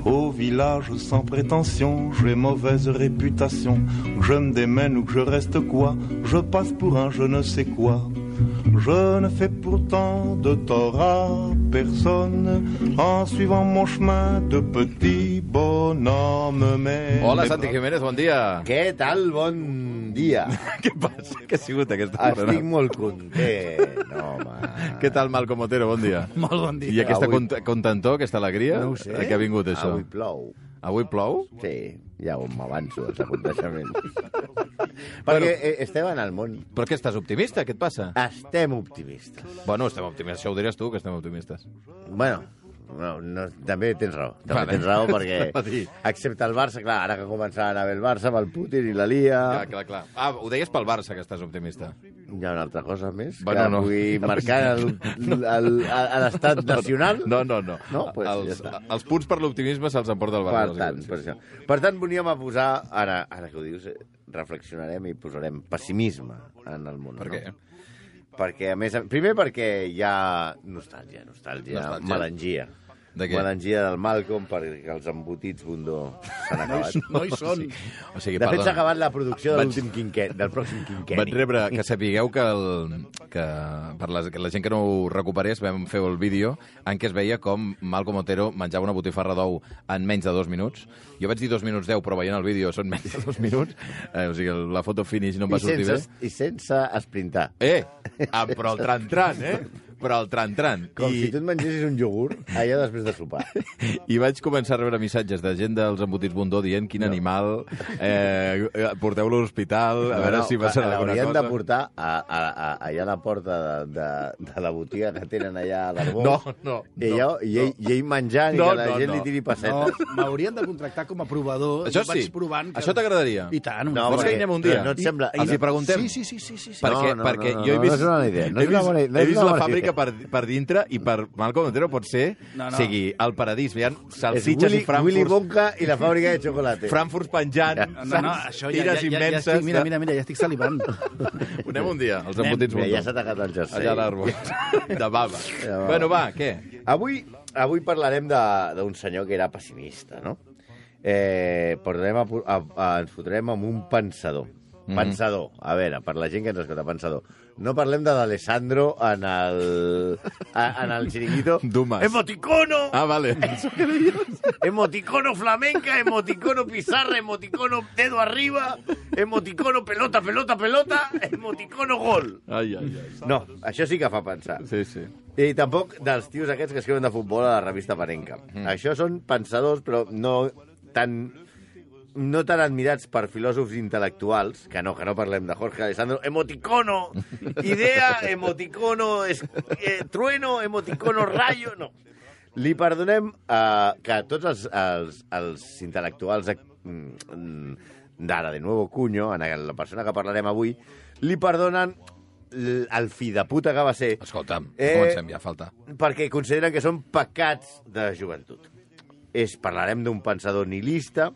Au village sans prétention, j'ai mauvaise réputation. Que je me démène ou que je reste quoi, je passe pour un je ne sais quoi. Je ne fais pourtant de tort à personne en suivant mon chemin de petit bonhomme. Mais Hola, les Santi bras- Jiménez, bon dia. Què tal? Bon dia. Què passa? Què ha sigut aquesta Estic jornada? molt content, home. Què tal, Malcom Otero? Bon dia. Molt bon dia. I aquesta Avui- cont contentor, aquesta alegria? No ho sé. De què ha vingut, això? Avui plou. Avui plou? Sí, ja on m'avanço dels aconteixements. Perquè eh, estem en el món. Però què, estàs optimista? Què et passa? Estem optimistes. Bueno, estem optimistes. Això ho diràs tu, que estem optimistes. Bueno, no, no, també tens raó. També Vale. tens raó Anava a dir. perquè, excepte el Barça, clar, ara que començava a anar bé el Barça, amb el Putin i la Lia... Clar, clar, clar. Ah, ho deies pel Barça, que estàs optimista. Hi ha una altra cosa més Bueno, que no. pugui marcar el- el- a l'estat nacional? No, no, no. No? Pues ja els, està. els punts per l'optimisme se'ls emporta el Barça. Per tant, per, això. per tant, volíem a posar, ara, ara que ho dius, eh, reflexionarem i posarem pessimisme en el món. Per què? No? Perquè, a més, a- primer perquè hi ha nostàlgia, nostàlgia, Nostàlgia. nostàlgia. melangia. De què? Melangia del Malcolm perquè els embotits Bundó s'han acabat. No hi són. O sigui, De fet, perdona. s'ha acabat la producció de Vaig- l'últim quinquet, del pròxim quinquet. Vaig rebre, que sapigueu que, el, que per la, que la gent que no ho recuperés vam fer el vídeo en què es veia com Malcom Otero menjava una botifarra d'ou en menys de dos minuts. Jo vaig dir dos minuts deu, però veient el vídeo són menys de dos minuts. Eh, o sigui, la foto finish no em I va sortir sense, bé. I sense esprintar. Eh, ah, però el tran-tran, eh? Però el tran-tran. Com I... I, si tu et mengessis un iogurt allà després de sopar. I vaig començar a rebre missatges de gent dels embotits Bundó dient quin animal, eh, eh, porteu-lo a l'hospital, a veure si passa alguna l'haurien cosa. de portar a, a, a, allà a la porta de, de, de la botiga que tenen allà a l'Arbós. No, no, I, allà, i, ell, i ell menjant No, i que la no, gent no. li tiri No, pessetes. m'haurien de contractar com a provador. Això Jo vaig sí. Provant que... Això t'agradaria? I No, tant. una Vols que hi perquè- anem un dia? No et sembla... Els hi preguntem? Sí, sí, sí. sí, sí, sí. Per- Perquè, No, no, perquè no, jo he no, vist, no és una bona idea, no he és una vist, bona- no he és vist una la bona fàbrica idea. per, per dintre i per Malcolm Otero pot ser, no, No, no. no. sigui, el paradís. Hi ha És salsitxes Willy, i Frankfurt, Willy Bonca i la fàbrica de xocolata. Frankfurt penjant, No, no, no, això ja, ja, tires ja, ja, immenses. estic, mira, mira, mira, ja estic salivant. De... Anem un dia, els embotits Mira, ja Bundó. s'ha tacat el jersei. Allà a l'arbol. De bava. Ja va. Bueno, va, què? Avui, avui parlarem de- d'un senyor que era pessimista, no? Eh, portarem a, a, a, ens fotrem amb un pensador. Mhm. Pensador. A veure, per la gent que ens escolta, pensador. No parlem de d'Alessandro en el, a, en el xiringuito. Dumas. Emoticono! Ah, vale. Emoticono flamenca, emoticono pizarra, emoticono dedo arriba, emoticono pelota, pelota, pelota, emoticono gol. Ai, ai, ai. No, això sí que fa pensar. Sí, sí. I tampoc dels tios aquests que escriuen de futbol a la revista Panenka. Mm. Això són pensadors, però no tan no tan admirats per filòsofs intel·lectuals, que no, que no parlem de Jorge Alessandro, emoticono, idea, emoticono, es, eh, trueno, emoticono, rayo, no. Li perdonem eh, que tots els, els, els intel·lectuals ac- mm, mm, d'ara, de nuevo cuño, en la persona que parlarem avui, li perdonen l- el fi de puta que va ser Escolta'm, Eh, comencem ja, falta. perquè consideren que són pecats de joventut. És, parlarem d'un pensador nihilista,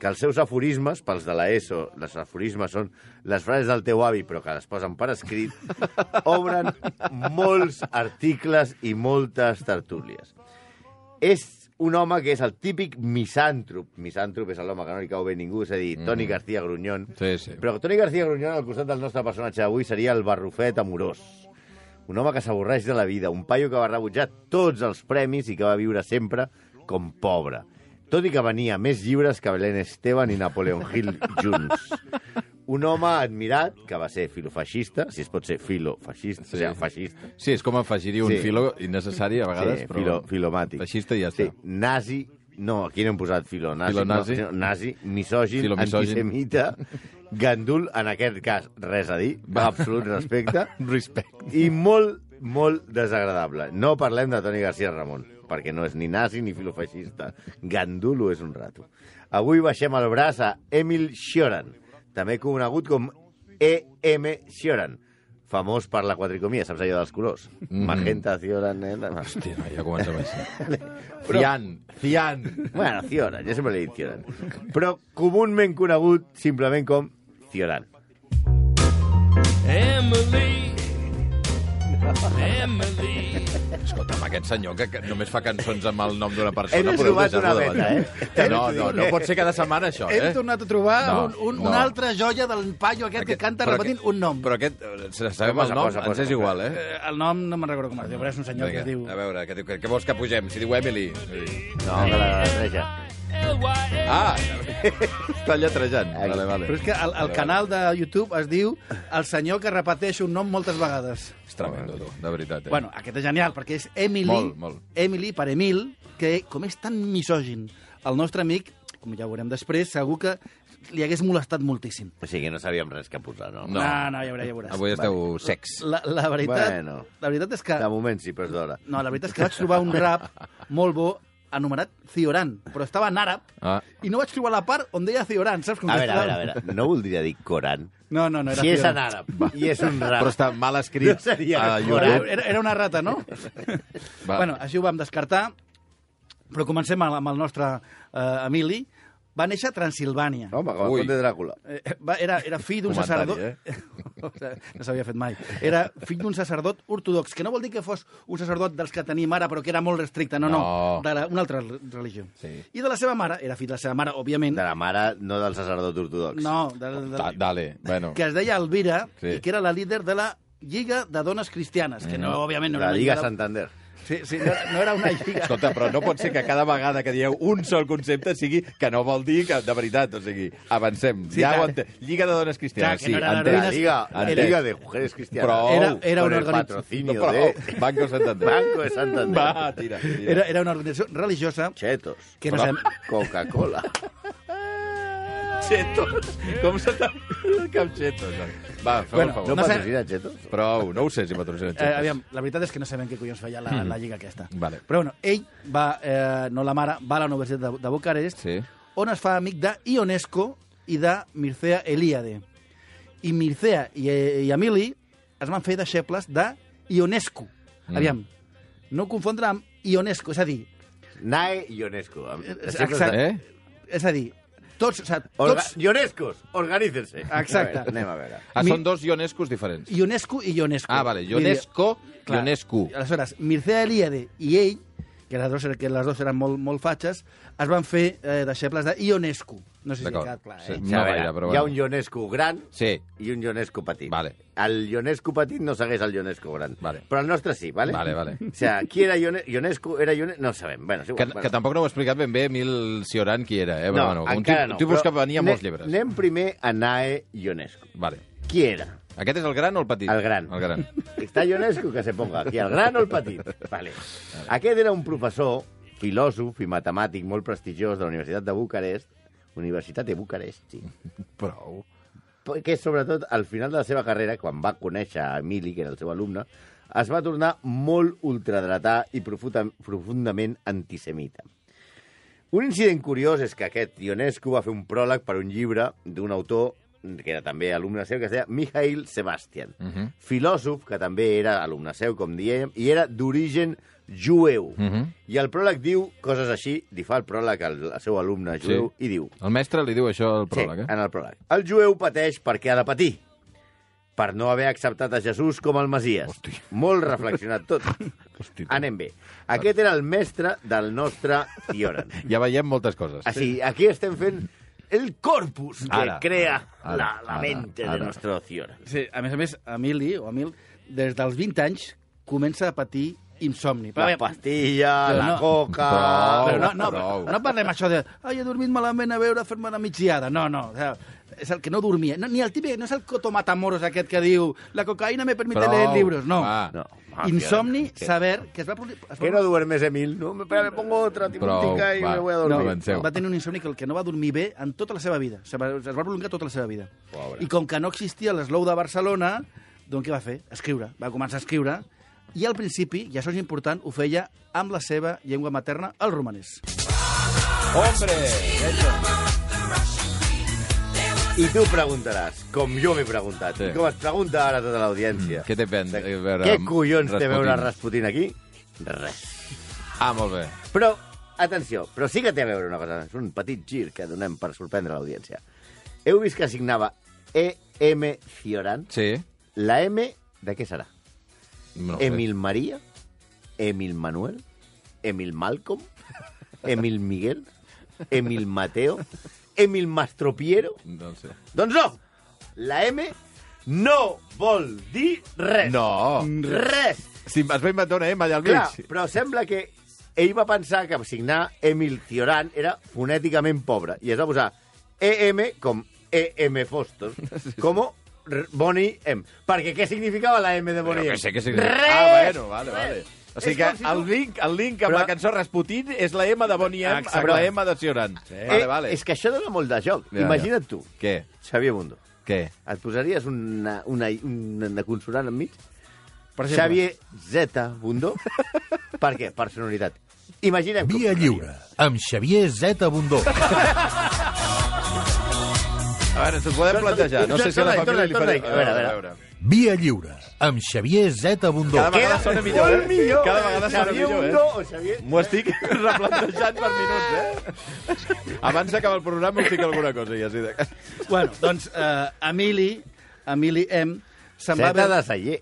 que els seus aforismes, pels de l'ESO, els aforismes són les frases del teu avi, però que les posen per escrit, obren molts articles i moltes tertúlies. És un home que és el típic misàntrop. Misàntrop és l'home que no li cau bé a ningú, és a dir, Toni García Grunyón. Sí, sí. Però Toni García Grunyón al costat del nostre personatge d'avui seria el barrufet amorós. Un home que s'avorreix de la vida, un paio que va rebutjar tots els premis i que va viure sempre com pobre. Tot i que venia més llibres que Belén Esteban i Napoleon Hill junts. Un home admirat, que va ser filofeixista, si es pot ser filofeixista, sí. o sigui, feixista. Sí, és com afegir-hi un Sí. filo innecessari a vegades, sí, però... Filo, filomàtic. Feixista i ja sí, està. nazi, no, aquí no hem posat filonazi, Filonazi. No, sinó nazi, misògin, Filomissògin. antisemita, gandul, en aquest cas, res a dir, Va. absolut respecte, Respect. i molt, molt desagradable. No parlem de Toni García Ramon, perquè no és ni nazi ni filofeixista. Gandulo és un rato. Avui baixem el braç a Emil Xioran, també conegut com E.M. Cioran, famós per la quadricomia, saps allò dels colors? Mm. Magenta, Cioran... Eh? no, no. Hòstia, no, ja comença bé. Cian, Cian. Bueno, Cioran, jo sempre li he dit Cioran. Però comunment conegut simplement com Cioran. Emily. Emily. Escolta, amb aquest senyor que, que només fa cançons amb el nom d'una persona... Hem podeu trobat deixar-lo una de veta, banda. eh? No, no, no pot ser cada setmana, això, Hem eh? tornat a trobar No, un, un, no. una altra joia del paio aquest, que canta però repetint aquest- un nom. Però aquest, eh, se- sabem Posa, el nom, posa, ens posa. és igual, eh? Eh, El nom no me'n recordo com es diu, però és un senyor que es diu... A veure, què, diu, què, què vols que pugem? Si diu Emily. No, que la L-Y-A. barreja. Ah! Està lletrejant. Ai. Vale, vale. Però és que el, el canal de YouTube es diu El senyor que repeteix un nom moltes vegades. És tremendo, tu, de veritat. Eh? Bueno, aquest és genial, perquè és Emily, Molt, molt. Emily per Emil, que com és tan misògin, el nostre amic, com ja veurem després, segur que li hagués molestat moltíssim. O sigui Pues que no sabíem res que posar, no? No. no, no ja, veuràs, ja veuràs. Avui esteu secs. La, la, veritat, Bueno. la veritat és que... De moment sí, però és d'hora. No, la veritat és que vaig trobar un rap molt bo anomenat Cioran, però estava en àrab Ah. i no vaig trobar la part on deia Cioran, saps? Com A que veure, a estava- veure, a veure. No voldria dir Coran. No, no, no, era Si és en Cioran. àrab i és un rap. Però està mal escrit. No seria a Coran. YouTube. Era, era una rata, no? Va. Va. Bueno, així ho vam descartar, però comencem amb amb el nostre eh, Emili. Va néixer a Transilvània. Home, com el Ui. conte de Dràcula. Eh, va, era, era fill d'un Comentari, sacerdot... Eh? no s'havia fet mai. Era fill d'un sacerdot ortodox, que no vol dir que fos un sacerdot dels que tenim ara, però que era molt restricte, no, no, No. de la, una altra re- religió. Sí. I de la seva mare, era fill de la seva mare, òbviament, De la mare, no del sacerdot ortodox. no, de, de, Da, dale, bueno. que es deia Elvira, Sí. sí. i que era la líder de la Lliga de Dones Cristianes, que no, Mm. òbviament, no La era una Lliga lliga de- Santander. Sí, sí, no, no era una lliga... Escolta, però no pot ser que cada vegada que dieu un sol concepte sigui que no vol dir que, de veritat, o sigui, avancem. Sí, Sí, ja clar. ho ente- Lliga de Dones Cristianes, Clar, que sí, no era entès. La Heroïnes- Liga, la Entès. Liga de Mujeres Cristianas. Prou. Era- era Con una el organització. No, patrocinio però, de... Banco Santander. Banco de Santander. Va, Ah, tira, tira. Era, era una organització religiosa Chetos. que no sabem... Coca-Cola. Chetos. Com se t'ha el cap Chetos? eh. Va, feu Bueno, el favor. No, No no sé- patrocina Chetos? Prou, no ho sé si patrocina Eh, Chetos. aviam, la veritat és que no sabem què collons feia la, Mm. la lliga aquesta. Vale. Però bueno, ell va, eh, no la mare, va a la Universitat de, de Bucarest, Sí. on es fa amic de Ionesco i de Mircea Eliade. I Mircea i, eh, i Emili es van fer deixebles de Ionescu. Mm. Mm. Aviam, no confondre amb Ionesco, és a dir, Nae Ionesco. Exacte. Eh? és a dir, tots, o sigui, Orga... tots Ionescos, organícense. Exacte. A veure, anem a veure. Ah, Mi- són dos Ionescos diferents. Ionescu i Ionescu. Ah, vale, Vull dir, Ionesco, clar. Ionescu. Aleshores, Mircea Eliade i ell, que les dos, que les dos eren molt, molt fatxes, es van fer eh, deixebles de Ionescu. No sé si ha D'acord. quedat clar, eh? Sí. Sí. No A veure, gaire, però Hi ha bueno. un Ionesco gran Sí. i un Ionesco petit. Vale. El Ionesco petit no segueix el Ionesco gran. Vale. Però el nostre sí, vale? Vale, vale. O sigui, qui era Ione... Ionesco? Era Ionesco? No ho sabem. Bueno, sí, Que, que tampoc no ho ha explicat ben bé Emil Cioran qui era, eh? Però, bueno, un encara tip- no. Un tipus que però venia a molts anem- llibres. Anem primer a Nae Ionesco. Vale. Qui era? Aquest és el gran o el petit? El gran. El gran. Està Ionesco que se ponga aquí, el gran o el petit. Vale. Aquest era un professor, filòsof i matemàtic molt prestigiós de la Universitat de Bucarest, Universitat de Bucarest, sí, Prou. que sobretot al final de la seva carrera, quan va conèixer a Emili, que era el seu alumne, es va tornar molt ultradretà i profuta- profundament antisemita. Un incident curiós és que aquest Ionescu va fer un pròleg per un llibre d'un autor que era també alumne seu, que es deia Mikhail Sebastian, uh Mhm. -huh. filòsof que també era alumne seu, com diem, i era d'origen jueu. Uh Mhm. -huh. I el pròleg diu coses així, li fa el pròleg al, al seu alumne jueu i diu El mestre li diu això al pròleg, sí, eh? en el pròleg. El jueu pateix perquè ha de patir, per no haver acceptat a Jesús com el Masies. Hosti. Molt reflexionat tot. Hosti, tu. Anem bé. Aquest era el mestre del nostre Tioran. Ja veiem moltes coses. Així, aquí estem fent el corpus que Ara, crea ara, la, la ara, mente ara. del nostre Tioran. sí. A més a més, Emili, o Emil, des dels 20 anys comença a patir insomni. La a veure, pastilla, Però la no. coca... Però- però no, no, prou. no parlem això de ai, he dormit malament a veure fer-me una migdiada. No, no, o sea, és el que no dormia. No, ni el típic, no és el Coto Matamoros aquest que diu la cocaïna me permite Prou. leer libros. No, Va. No, home, insomni, Tioran, que- saber que es va... produ- Es va Que no duermes, Emil. No, me, espera, me pongo otra timontica y va, me voy a no, dormir. avancem. Avanceu. va tenir un insomni que el que no va dormir bé en tota la seva vida. Se va, es va prolongar tota la seva vida. Pobre. I com que no existia l'eslou de Barcelona, doncs què va fer? Escriure. Va començar a escriure i al principi, i això és important, ho feia amb la seva llengua materna, el romanès. Hombre! I tu preguntaràs, com jo m'he preguntat, Sí. sí. com es pregunta ara tota l'audiència. Què té pen... a veure, Què collons té a veure Rasputin? Rasputin aquí? Res. Ah, molt bé. Però, atenció, però sí que té a veure una cosa. És un petit gir que donem per sorprendre l'audiència. Heu vist que signava E.M. Cioran? Sí. La M, de què serà? No ho sé. Emil María, Emil Manuel, Emil Malcolm, Emil Miguel, Emil Mateo, Emil Mastropiero... No ho sé. Doncs no! La M no vol dir res. No. Res. Si es va inventar una M allà eh, al Clar, mig. però sembla que ell va pensar que signar Emil Cioran era fonèticament pobre i es va posar EM com EM Foster, com R- Bonnie M. Perquè què significava la M de Però Bonnie M? que sé que sí. que- Res! Ah, bueno, vale, vale. Res. O sigui És que com si tu- el link, el link amb Però- la cançó Rasputin és la M de Bonnie M Exacte. amb la M de Sioran. Vale, Eh, vale. És que això dona molt de joc. Ja, ja. Imagina't tu, Què? Xavier Mundo, Què? et posaries una, una, una, una consonant enmig? Per exemple. Xavier Z Bundó? per què? Personalitat. Imaginem com Via sonaria. Lliure, amb Xavier Zeta Bundó. A veure, s'ho Doncs, podem plantejar. No sé si a la Torna-hi, família li torna-hi, faré... torna-hi. A veure, a veure. Via Lliure, amb Xavier Zeta Bundó. Cada vegada sona millor, eh? Cada vegada sona Xavier millor, Bundó eh? o Xavier... M'ho estic replantejant per minuts, eh? Abans d'acabar el programa us dic alguna cosa, ja sí. De... Bueno, doncs eh, Emili, Emili M, se'n va... Zeta de haver- Saller.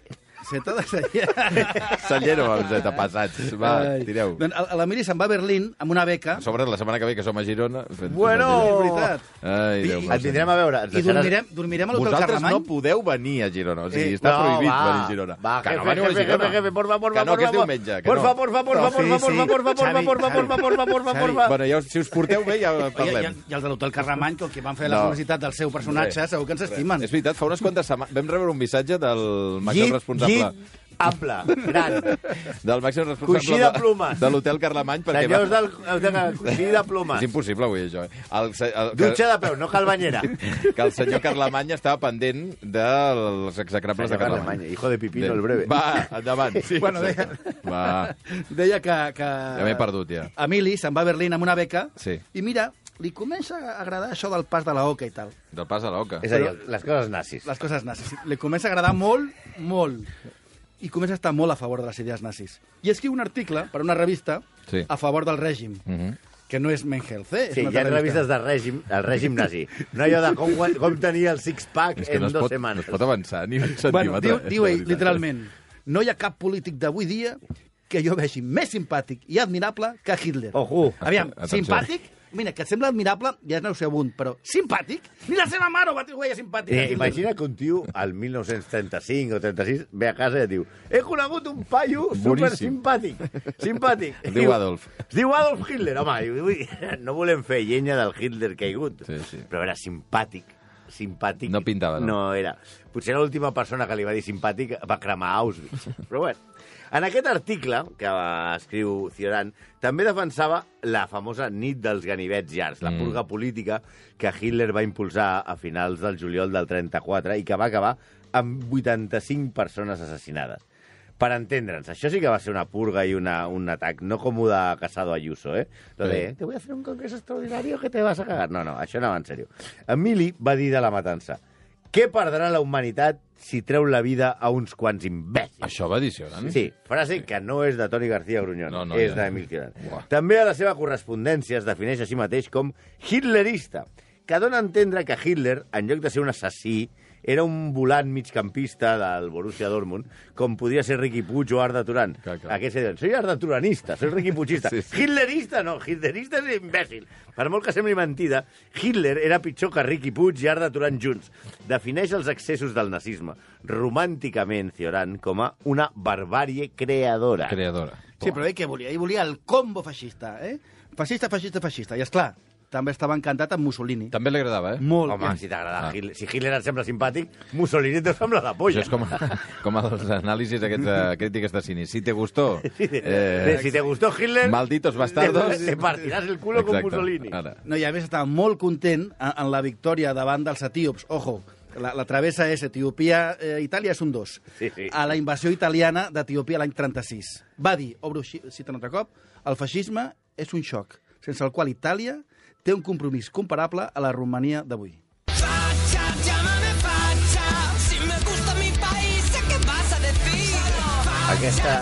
Zeta de Sallera. Sallero, amb Zeta, passats. Va, tireu. Doncs el- l'Emili se'n va a Berlín amb una beca A sobre, la setmana que ve, que som a Girona... fent- Bueno. és veritat. Ai, Déu meu. Et vindrem a veure. Ens I dormirem, dormirem a l'hotel Vosaltres Carlemany. no podeu venir a Girona, o sigui, Eh, està no, prohibit va. venir a Girona. Va, que no jefe, veniu a jefe, Girona. jefe, jefe, porfa, porfa, que no, que és porfa, diumenge, que porfa, no. porfa, porfa, No, porfa, sí, sí. porfa, porfa, Xavi, porfa, Xavi. porfa, porfa, porfa, Xavi. porfa. Bueno, ja, us- si us porteu bé, ja I, i, parlem. i els de l'hotel Carramany, que el que van fer No. la publicitat del seu personatge, Res. segur que ens estimen. És veritat, fa unes quantes setmanes vam rebre un missatge del màxim Llit- responsable... llit ample, gran. Del màxim Coixí responsable de plomes. de, de l'hotel Carlemany, perquè... Senyors va- del... del coixí de plomes. És impossible avui, això. eh? El, se- el, que- Dutxa de peu, no cal banyera. que el senyor Carlemany estava pendent dels execrables de Senyor Carlemany. Carlemany, hijo de Pipino, Bé, el breve. Va, endavant. Sí, Bueno, deia, Va, deia que... que ja m'he perdut, ja. Emili se'n va a Berlín amb una beca Sí. i mira, li comença a agradar això del pas de la oca i tal. Del pas a l'oca. És a dir, les coses nazis. Les coses nazis. Li comença a agradar molt, molt. I comença a estar molt a favor de les idees nazis. I escriu un article per una revista Sí. a favor del règim, Mhm. que no és Men Health, eh? És Sí, una hi ha altra revistes de règim, el règim nazi. No allò de com, guan- com tenir el six-pack És que en no es, dues pot, no setmanes. es pot avançar ni un centímetre. Bueno, diu, eh? diu La ell, veritat. literalment, no hi ha cap polític d'avui dia que jo vegi més simpàtic i admirable que Hitler. Ojo. Aviam, Atenció. simpàtic, mira, que et sembla admirable, ja és nauseabunt, però simpàtic? Ni la seva mare ho va trobar ja simpàtica. Eh, Hitler. imagina que un tio, al 1935 o 36, ve a casa i et diu he conegut un paio super simpàtic. Simpàtic. Es diu Adolf. Es diu Adolf Hitler. Home, diu, ui, no volem fer llenya del Hitler caigut. Sí, sí. Però era simpàtic. Simpàtic. No pintava, no. No era. Potser era l'última persona que li va dir simpàtic va cremar Auschwitz. Però bueno. En aquest article que escriu Cioran, també defensava la famosa nit dels ganivets llargs, Mm. la purga política que Hitler va impulsar a finals del juliol del 34 i que va acabar amb 85 persones assassinades. Per entendre'ns, això sí que va ser una purga i una, un atac, no com ho de Casado Ayuso, ¿eh? Lo de, Sí. te voy a hacer un congreso extraordinario que te vas a cagar. No, no, això anava en sèrio. Emili va dir de la matança, què perdrà la humanitat si treu la vida a uns quants imbècils? Això va adicionant? Sí, frase que no és de Toni García Grunyón, No, no, no, no, és ja. d'Emil Cioran. Buah. També a la seva correspondència es defineix a si mateix com hitlerista, que dona a entendre que Hitler, en lloc de ser un assassí, era un volant migcampista del Borussia Dortmund, com podria ser Riqui Puig o Arda Turan. Clar, clar. Aquests que diuen, soy Arda Turanista, soy Riqui Puigista. Sí, sí, sí. sí. Hitlerista no, hitlerista és imbècil. Per molt que sembli mentida, Hitler era pitjor que Riqui Puig i Arda Turan junts. Defineix els excessos del nazisme, romànticament, Cioran, com a una barbàrie creadora. Creadora. Sí, però ell què volia? Ell volia el combo feixista, eh? Fascista, fascista, fascista. I, és clar, també estava encantat amb Mussolini. També li agradava, eh? Molt. Home, si t'agrada Ah. ah. Hitler, si Hitler et sembla simpàtic, Mussolini te sembla la polla. Això és com, com els anàlisis aquests de crítiques de cine. Si te gustó... Eh, si te gustó Hitler, Malditos bastardos. te, te partiràs el culo Exacte. Exacte. con Mussolini. Ara. No, i a més estava molt content en, en la victòria davant dels etíops. Ojo, la, la travessa és Etiòpia, eh, Itàlia és un dos. Sí, sí. A la invasió italiana d'Etiòpia l'any 36. Va dir, obro xi- cita un altre cop, el feixisme és un xoc, sense el qual Itàlia té un compromís comparable a la Romania d'avui. aquesta,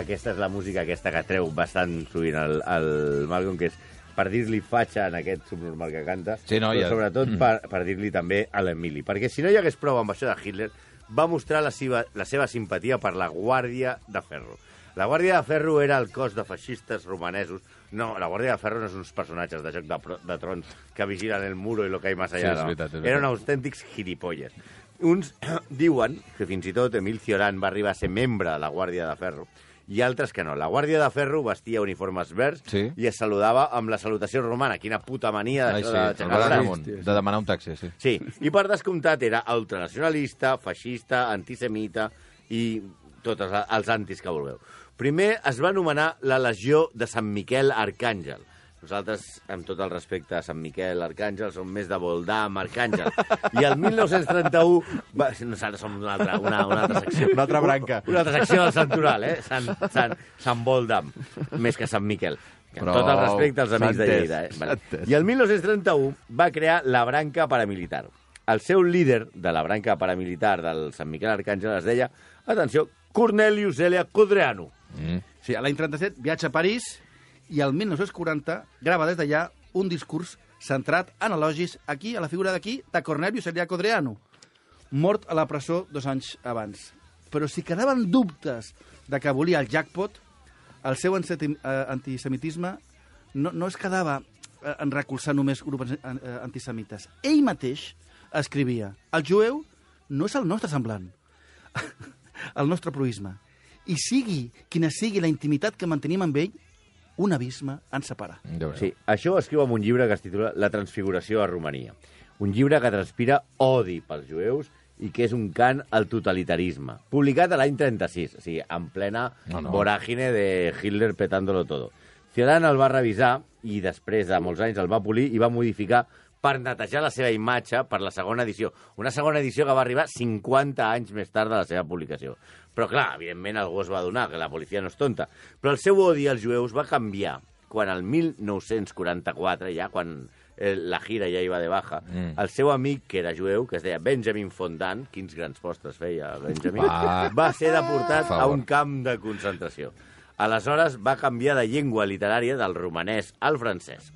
aquesta és la música aquesta que treu bastant sovint el, el Malcolm, que és per dir-li fatxa en aquest subnormal que canta, Sí, no, però ja- sobretot Mm. per, per dir-li també a l'Emili. Perquè si no hi hagués prou amb això de Hitler, va mostrar la seva, la seva simpatia per la Guàrdia de Ferro. La Guàrdia de Ferro era el cos de feixistes romanesos. No, la Guàrdia de Ferro no són uns personatges de Joc de, Pro- de Trons que vigilen el muro i lo que hi més Sí, allà. és no. veritat, és Eren veritat. autèntics gilipolles. Uns diuen que fins i tot Emil Cioran va arribar a ser membre de la Guàrdia de Ferro i altres que no. La Guàrdia de Ferro vestia uniformes verds Sí. i es saludava amb la salutació romana. Quina puta mania Ai, d'això sí, de el d'aixecar el Balan braç. Ramon, de demanar un taxi, sí. Sí, i per descomptat era ultranacionalista, feixista, antisemita i tots els- els antis que vulgueu. Primer es va anomenar la Legió de Sant Miquel Arcàngel. Nosaltres, amb tot el respecte a Sant Miquel Arcàngel, som més de Voldam Arcàngel. I el 1931... Va... Nosaltres som una altra, una, una altra secció. Una altra branca. Una altra secció del Santoral, eh? Sant, Sant, Sant Voldam, més que Sant Miquel. Però... Prou. Amb tot el respecte als amics de S'ha entès, Lleida. Eh? s'ha Vale. entès. I el 1931 va crear la branca paramilitar. El seu líder de la branca paramilitar del Sant Miquel Arcàngel es deia, atenció, Cornelius Elia Codreanu. Sí, a l'any 37 viatja a París i el 1940 grava des d'allà un discurs centrat en elogis aquí, a la figura d'aquí, de Cornelius Eliaco Dreano, mort a la presó dos anys abans. Però si quedaven dubtes de que volia el jackpot, el seu anseti- eh, antisemitisme no, no es quedava eh, en recolzar només grups eh, antisemites. Ell mateix escrivia «El jueu no és el nostre semblant, el nostre proisme. I sigui quina sigui la intimitat que mantenim amb ell, un abisme ens separa. Ja veureu. Sí, això ho escriu en un llibre que es titula La transfiguració a Romania. Un llibre que transpira odi pels jueus i que és un cant al totalitarisme. Publicat a l'any 36, o sigui, en plena No, no, no. no. voràgine de Hitler petándolo todo. Ciudadan el va revisar i després de molts anys el va polir i va modificar per netejar la seva imatge per la segona edició. Una segona edició que va arribar 50 anys més tard de la seva publicació. Però, clar, evidentment algú es va donar, que la policia no és tonta. Però el seu odi als jueus va canviar quan el 1944, ja quan eh, la gira ja iba de baja, mm. el seu amic, que era jueu, que es deia Benjamin Fondant, quins grans postres feia Benjamin, Va. va ser deportat Per a favor. un camp de concentració. Aleshores va canviar de llengua literària del romanès al francès.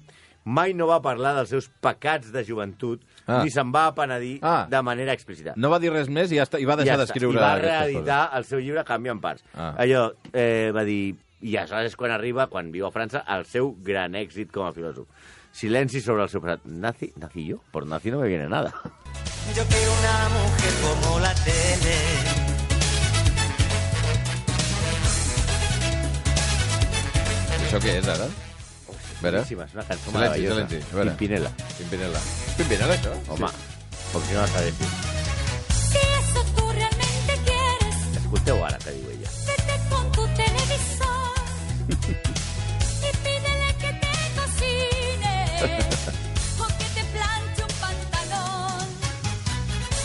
Mai no va parlar dels seus pecats de joventut, Ah. ah. ni se'n va penedir Ah. ah. de manera explícita. No va dir res més i, ja està, i va deixar està. d'escriure I va aquestes reeditar el seu llibre Canvi en parts. Ah. Ah. Allò eh, va dir... I aleshores és quan arriba, quan viu a França, el seu gran èxit com a filòsof. Silenci sobre el seu passat. Nazi, nazi yo, por nazi no me viene nada. Ah. Yo quiero una mujer como la tele. coses. Això què és, ara? A veure. Boníssima, és una cançó Silenci, meravellosa. silenci. A veure. Pimpinela. Pimpinela. Pimpinela, això? Home, sí. com si no la sabessis. Si eso tú realmente quieres, Escolteu ara què diu ella. vete con tu televisor y pídele que te cocine o que te planche un pantalón.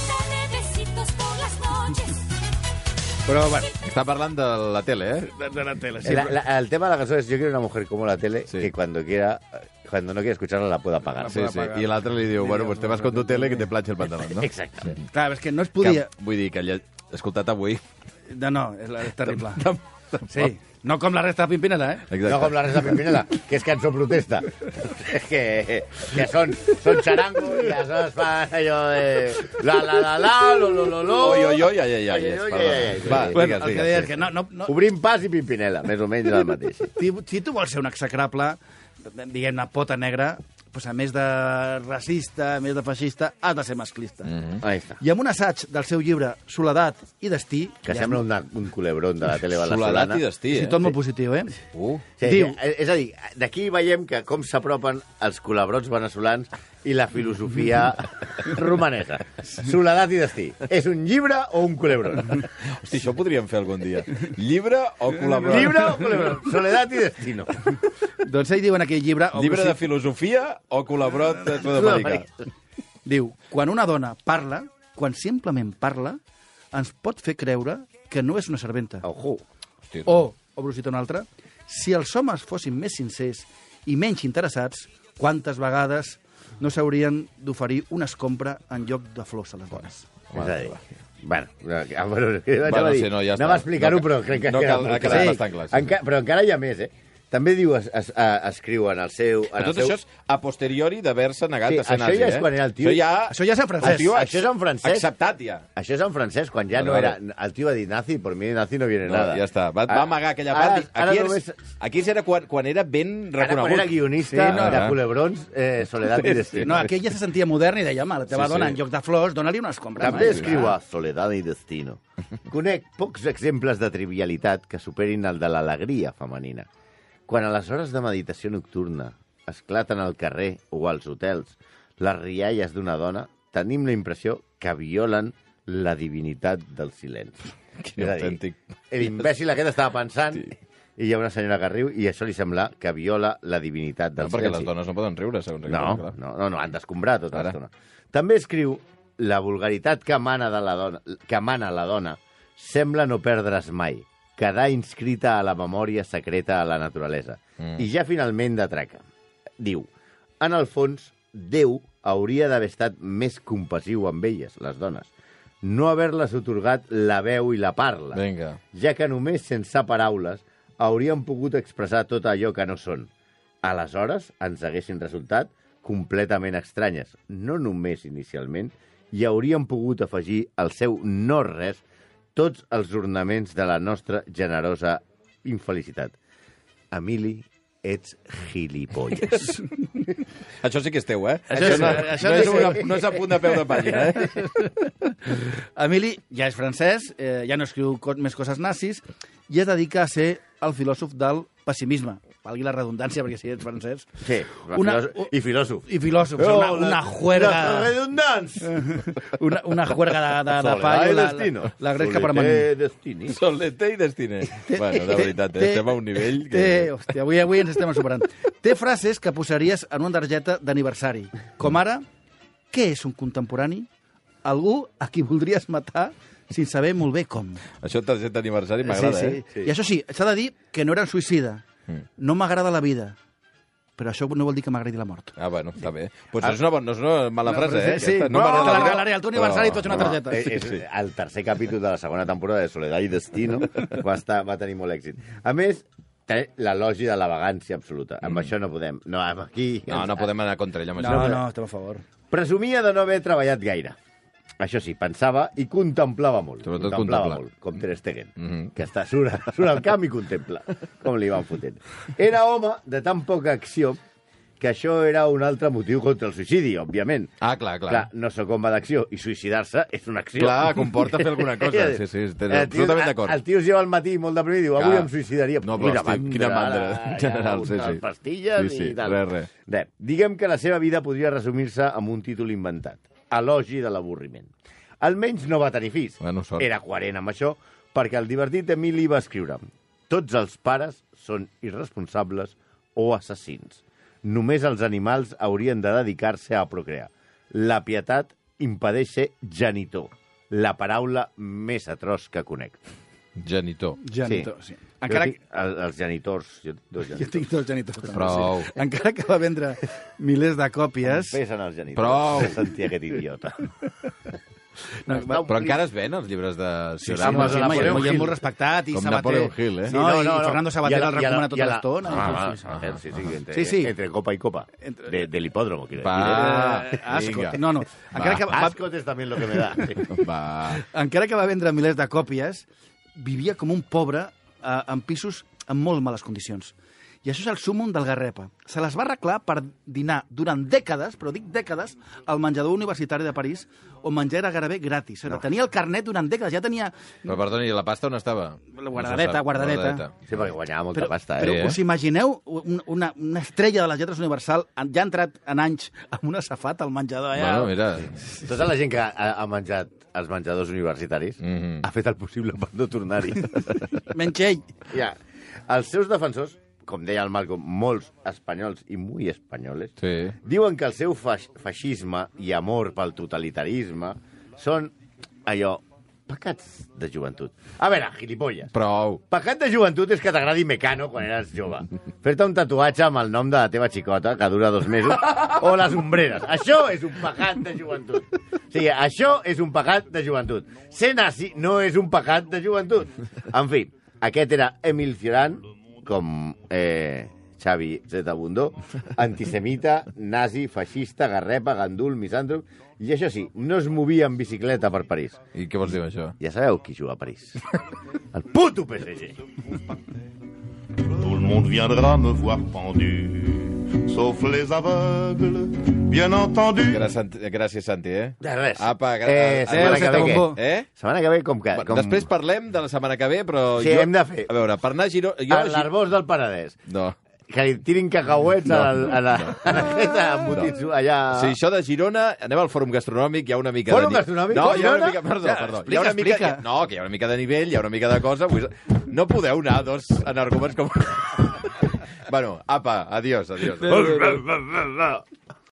Dale besitos por las noches. Però, bueno, està parlant de la tele, eh? De, de la tela, La- la- el tema de la canción es yo quiero una mujer como la tele Sí. que cuando quiera, cuando no quiera escucharla la pueda apagar. Ah, Sí, sí. I l'altre li diu, bueno, pues te vas con tu tele que te planxa el pantalón, no? Exacto. Clar, és que no es Mm. Que, podia... vull dir que lle... escoltat avui... No, no, és, la, és terrible. Tam- Sí, no com la resta de Pimpinela, eh? Exacte. No com la Rosa Pimpinela, que es cançó protesta. que, que son, son charango y las dos fan allò de... La, la, la, la, lo, lo, lo, lo... Oi, oi, oi, ai, ai, ai, Oi, oi, és, oi, perdona. ai, ai, ai. Va, Bueno, Ah, digues, el que digues. deia és que no, no, no, Obrim Pues, pas i Pimpinela, més o menys el mateix. si, si tu vols ser un execrable, diguem-ne, pota negra, doncs a més de racista, a més de feixista, has de ser masclista. Mm -hmm. Ahí està. I amb un assaig del seu llibre Soledat i Destí... Que ja, sembla una, un culebrón de la tele Soledat venezolana. i destí, Sí, eh? tot molt positiu, eh? Uh, Sí, Diu- Diu... És a dir, d'aquí veiem que com s'apropen els col·laborats veneçolans i la filosofia romanesa. Soledat i destí. És un llibre o un culebron? hosti, això ho podríem fer algun dia. Llibre o col·laborar? llibre o culebron? Soledat i destino. Doncs ell diu en aquell llibre... o Llibre sigui, de filosofia o col·laborat de Sud-amèrica? Diu, quan una dona parla, quan simplement parla, ens pot fer creure que no és una serventa. Ojo. O, obro cita una altra, si els homes fossin més sincers i menys interessats, quantes vegades no s'haurien d'oferir una escombra en lloc de flors a les dones. És a dir, Bueno, no, que- ah, bueno, que Bueno, anava a dir, sí, no, ja anava està. a explicar-ho, No ca- però crec que... no cal- ha quedat sí, bastant clar, sí. enca- però encara hi ha més, eh? També diu, es, es, a, escriu en el seu... En Però tot el seu... això és a posteriori d'haver-se negat Sí, de ser això nazi, ja és eh? quan era el tio- Això ja... Això ja és en francès. El tio Això és en francès. Acceptat, ja. Això és en francès, quan ja Vale, no era... vale. El tio va dir nazi, per mi nazi no viene No, nada. ja està. Va, va Ara- amagar aquella ara- part. i ara Aquí, només- és, aquí és era quan, quan era ben Ara, reconegut. quan era guionista Sí, no, de ara. Culebrons, eh, Soledad i Destino. No, aquell ja se sentia modern i deia, home, la teva Sí, sí, dona, sí. en lloc de flors, dona-li una escombra. També escriu a Soledad i Destino. Conec pocs exemples de trivialitat que superin el de l'alegria femenina. Quan a les hores de meditació nocturna esclaten al carrer o als hotels les rialles d'una dona, tenim la impressió que violen la divinitat del silenci. Quin És a dir, autèntic. L'imbècil aquest estava pensant i hi ha una senyora que riu i això li sembla que viola la divinitat del No, perquè silenci. les dones no poden riure, segons No, aquest. no, no, no han d'escombrar tota Ara. l'estona. També escriu la vulgaritat que mana, de la dona, que mana la dona sembla no perdre's mai, quedar inscrita a la memòria secreta a la naturalesa. Mm. Mm. I ja finalment d'atraca. Diu, en el fons, Déu hauria d'haver estat més compassiu amb elles, les dones, no haver-les otorgat la veu i la parla Vinga. ja que només sense paraules haurien pogut expressar tot allò que no són. Aleshores, ens haguessin resultat completament estranyes, no només inicialment, i haurien pogut afegir al seu no-res tots els ornaments de la nostra generosa infelicitat. Emili, ets gilipolles. Això sí que és teu, eh? no, Això sí, això no, és sí. una, no és a punt de peu de pàgina, eh? Emili ja és francès, eh, ja no escriu co més coses nazis, i es dedica a ser el filòsof del pessimisme. Valgui la redundància, perquè si ets francès... Sí, una, Una- filòsof, i filòsof. I filòsof, o sigui, una, una La juerga, redundància. una, una juerga de, de, de Soledad paio, i la, destino. la, la gresca Solité permanent. destini. Solete i destine. Bueno, de veritat, eh? Té- estem a un nivell que... Té, hòstia, avui, avui ens estem superant. Té frases que posaries en una targeta d'aniversari, com ara, què és un contemporani? Algú a qui voldries matar sin saber molt bé com. Això targeta d'aniversari m'agrada, sí, sí. eh? Mm. I això sí, s'ha de dir que no era un suïcida. No m'agrada la vida, però això no vol dir que m'agradi la mort. Ah, bueno, està bé. Doncs no és una, bona- no és una mala frase, eh? Sí, aquesta. no, m'agrada te la la- regalaré al teu aniversari i tu ets una No, targeta. és, Eh, és eh, Sí, sí. El tercer capítol de la segona temporada de Soledad i Destino va, estar, va tenir molt èxit. A més, té l'elogi de la vagància absoluta. Amb això no podem. No, amb aquí... Mm. No, no podem anar contra ell amb No, això. no, estem a favor. Presumia de no haver treballat gaire. Això sí, pensava i contemplava molt. Sobretot contemplava contemplar. molt, com Ter Stegen, Mhm. que està, surt, surt al camp i contempla com li van fotent. Era home de tan poca acció que això era un altre motiu contra el suïcidi, òbviament. Ah, clar, clar. Clar, no sóc home d'acció i suïcidar-se és una acció. Clar, comporta fer alguna cosa. Sí, sí, estem El tio- absolutament d'acord. El tio es lleva al matí molt deprimit i diu, avui Clar. em suïcidaria. No, però hosti, quina mandra, en general, sí, sí. pastilles Sí, sí, i tal. res, res. Bé, diguem que la seva vida podria resumir-se amb un títol inventat. Elogi de l'avorriment. Almenys no va tenir fills. Bueno, sort. Era coherent amb això, perquè el divertit Emili va escriure tots els pares són irresponsables o assassins. Només els animals haurien de dedicar-se a procrear. La pietat impedeix ser genitor, la paraula més atroç que conec. Genitor. Genitor, sí. Encara Encara jo tinc, el, els genitors, jo, dos que... Jo genitors. tinc dos genitors. també, Prou. Sí. Encara que va vendre milers de còpies... Pesen els genitors. Prou. Se sentia aquest idiota. No, va, Però encara es ven els llibres de Sí, sí, Ciorama? home, sí, home, hi ha Napoleon molt- hi ha Hill. molt respectat, i Com Sabater... Napoleon Hill, eh? Sí, no, no, no, i Fernando Sabater el recomana tota l'estona. Ah, Sí, va, sí, sí. Sabater, sí, sí, entre, sí, Sí, sí. sí. entre copa i copa. De, de l'hipòdromo, quiero Va, decir. Eh, Ah, Eh, Ascot. vinga. No, no. Encara Va. que va, Ascot es también lo que me da. Va. encara que va vendre milers de còpies, vivia com un pobre eh, en pisos en molt males condicions. I això és el súmum del Garrepa. Se les va arreglar per dinar durant dècades, però dic dècades, al menjador universitari de París, on menjar era gairebé gratis. Era, Tenia el carnet durant dècades, ja tenia... Però, perdoni, la pasta on estava? Doncs La guardadeta, No se sap. guardadeta. Sí, perquè guanyava molta Però, pasta, però eh? eh? us imagineu un- una, una estrella de les lletres universal en- ja ha entrat en anys amb una safata al menjador? eh? Ja. Bueno, mira... Tota la gent que ha, ha menjat als menjadors universitaris Mhm. ha fet el possible per no tornar-hi. Menxell. ja. Els seus defensors, com deia el Malcolm, molts espanyols i muy espanyoles, Sí. diuen que el seu faix- feixisme i amor pel totalitarisme són allò Pecats de joventut. A veure, gilipolles. Prou. Pecat de joventut és que t'agradi Mecano quan eres jove. Fer-te un tatuatge amb el nom de la teva xicota, que dura dos mesos, o les ombreres. Això és un pecat de joventut. O sigui, això és un pecat de joventut. Ser nazi no és un pecat de joventut. En fi, aquest era Emil Cioran, com eh, Xavi Zetabundó, antisemita, nazi, feixista, garrepa, gandul, misàndrop, i això sí, no es movia en bicicleta per París. I què vols dir amb això? Ja sabeu qui juga a París. El puto PSG. Tout le monde viendra me voir pendu, sauf les aveugles, bien entendu. Gràcies, gràcies Santi, eh? De res. Apa, Eh, gràcies. setmana que ve, què? Eh? Setmana que ve, com que... Com... Després parlem de la setmana que ve, però... Sí, jo... hem de fer. A veure, per anar a Girona... Jo... a a l'Arbós del Penedès. Gi- No. Que li tirin cacauets no. a la, a la, a la creta, embotits allà... Sí, això de Girona, anem al Fòrum Gastronòmic, hi ha una mica Ah. Fòrum de... ni- Gastronòmic? No, hi ha A una Girona? mica... Perdó, Ja, perdó. explica, hi ha una mica... explica. No, que hi ha una mica de nivell, hi ha una mica de cosa... Vull... No podeu anar dos Oh, en arguments com... bueno, apa, adiós, adiós. Adéu, adéu.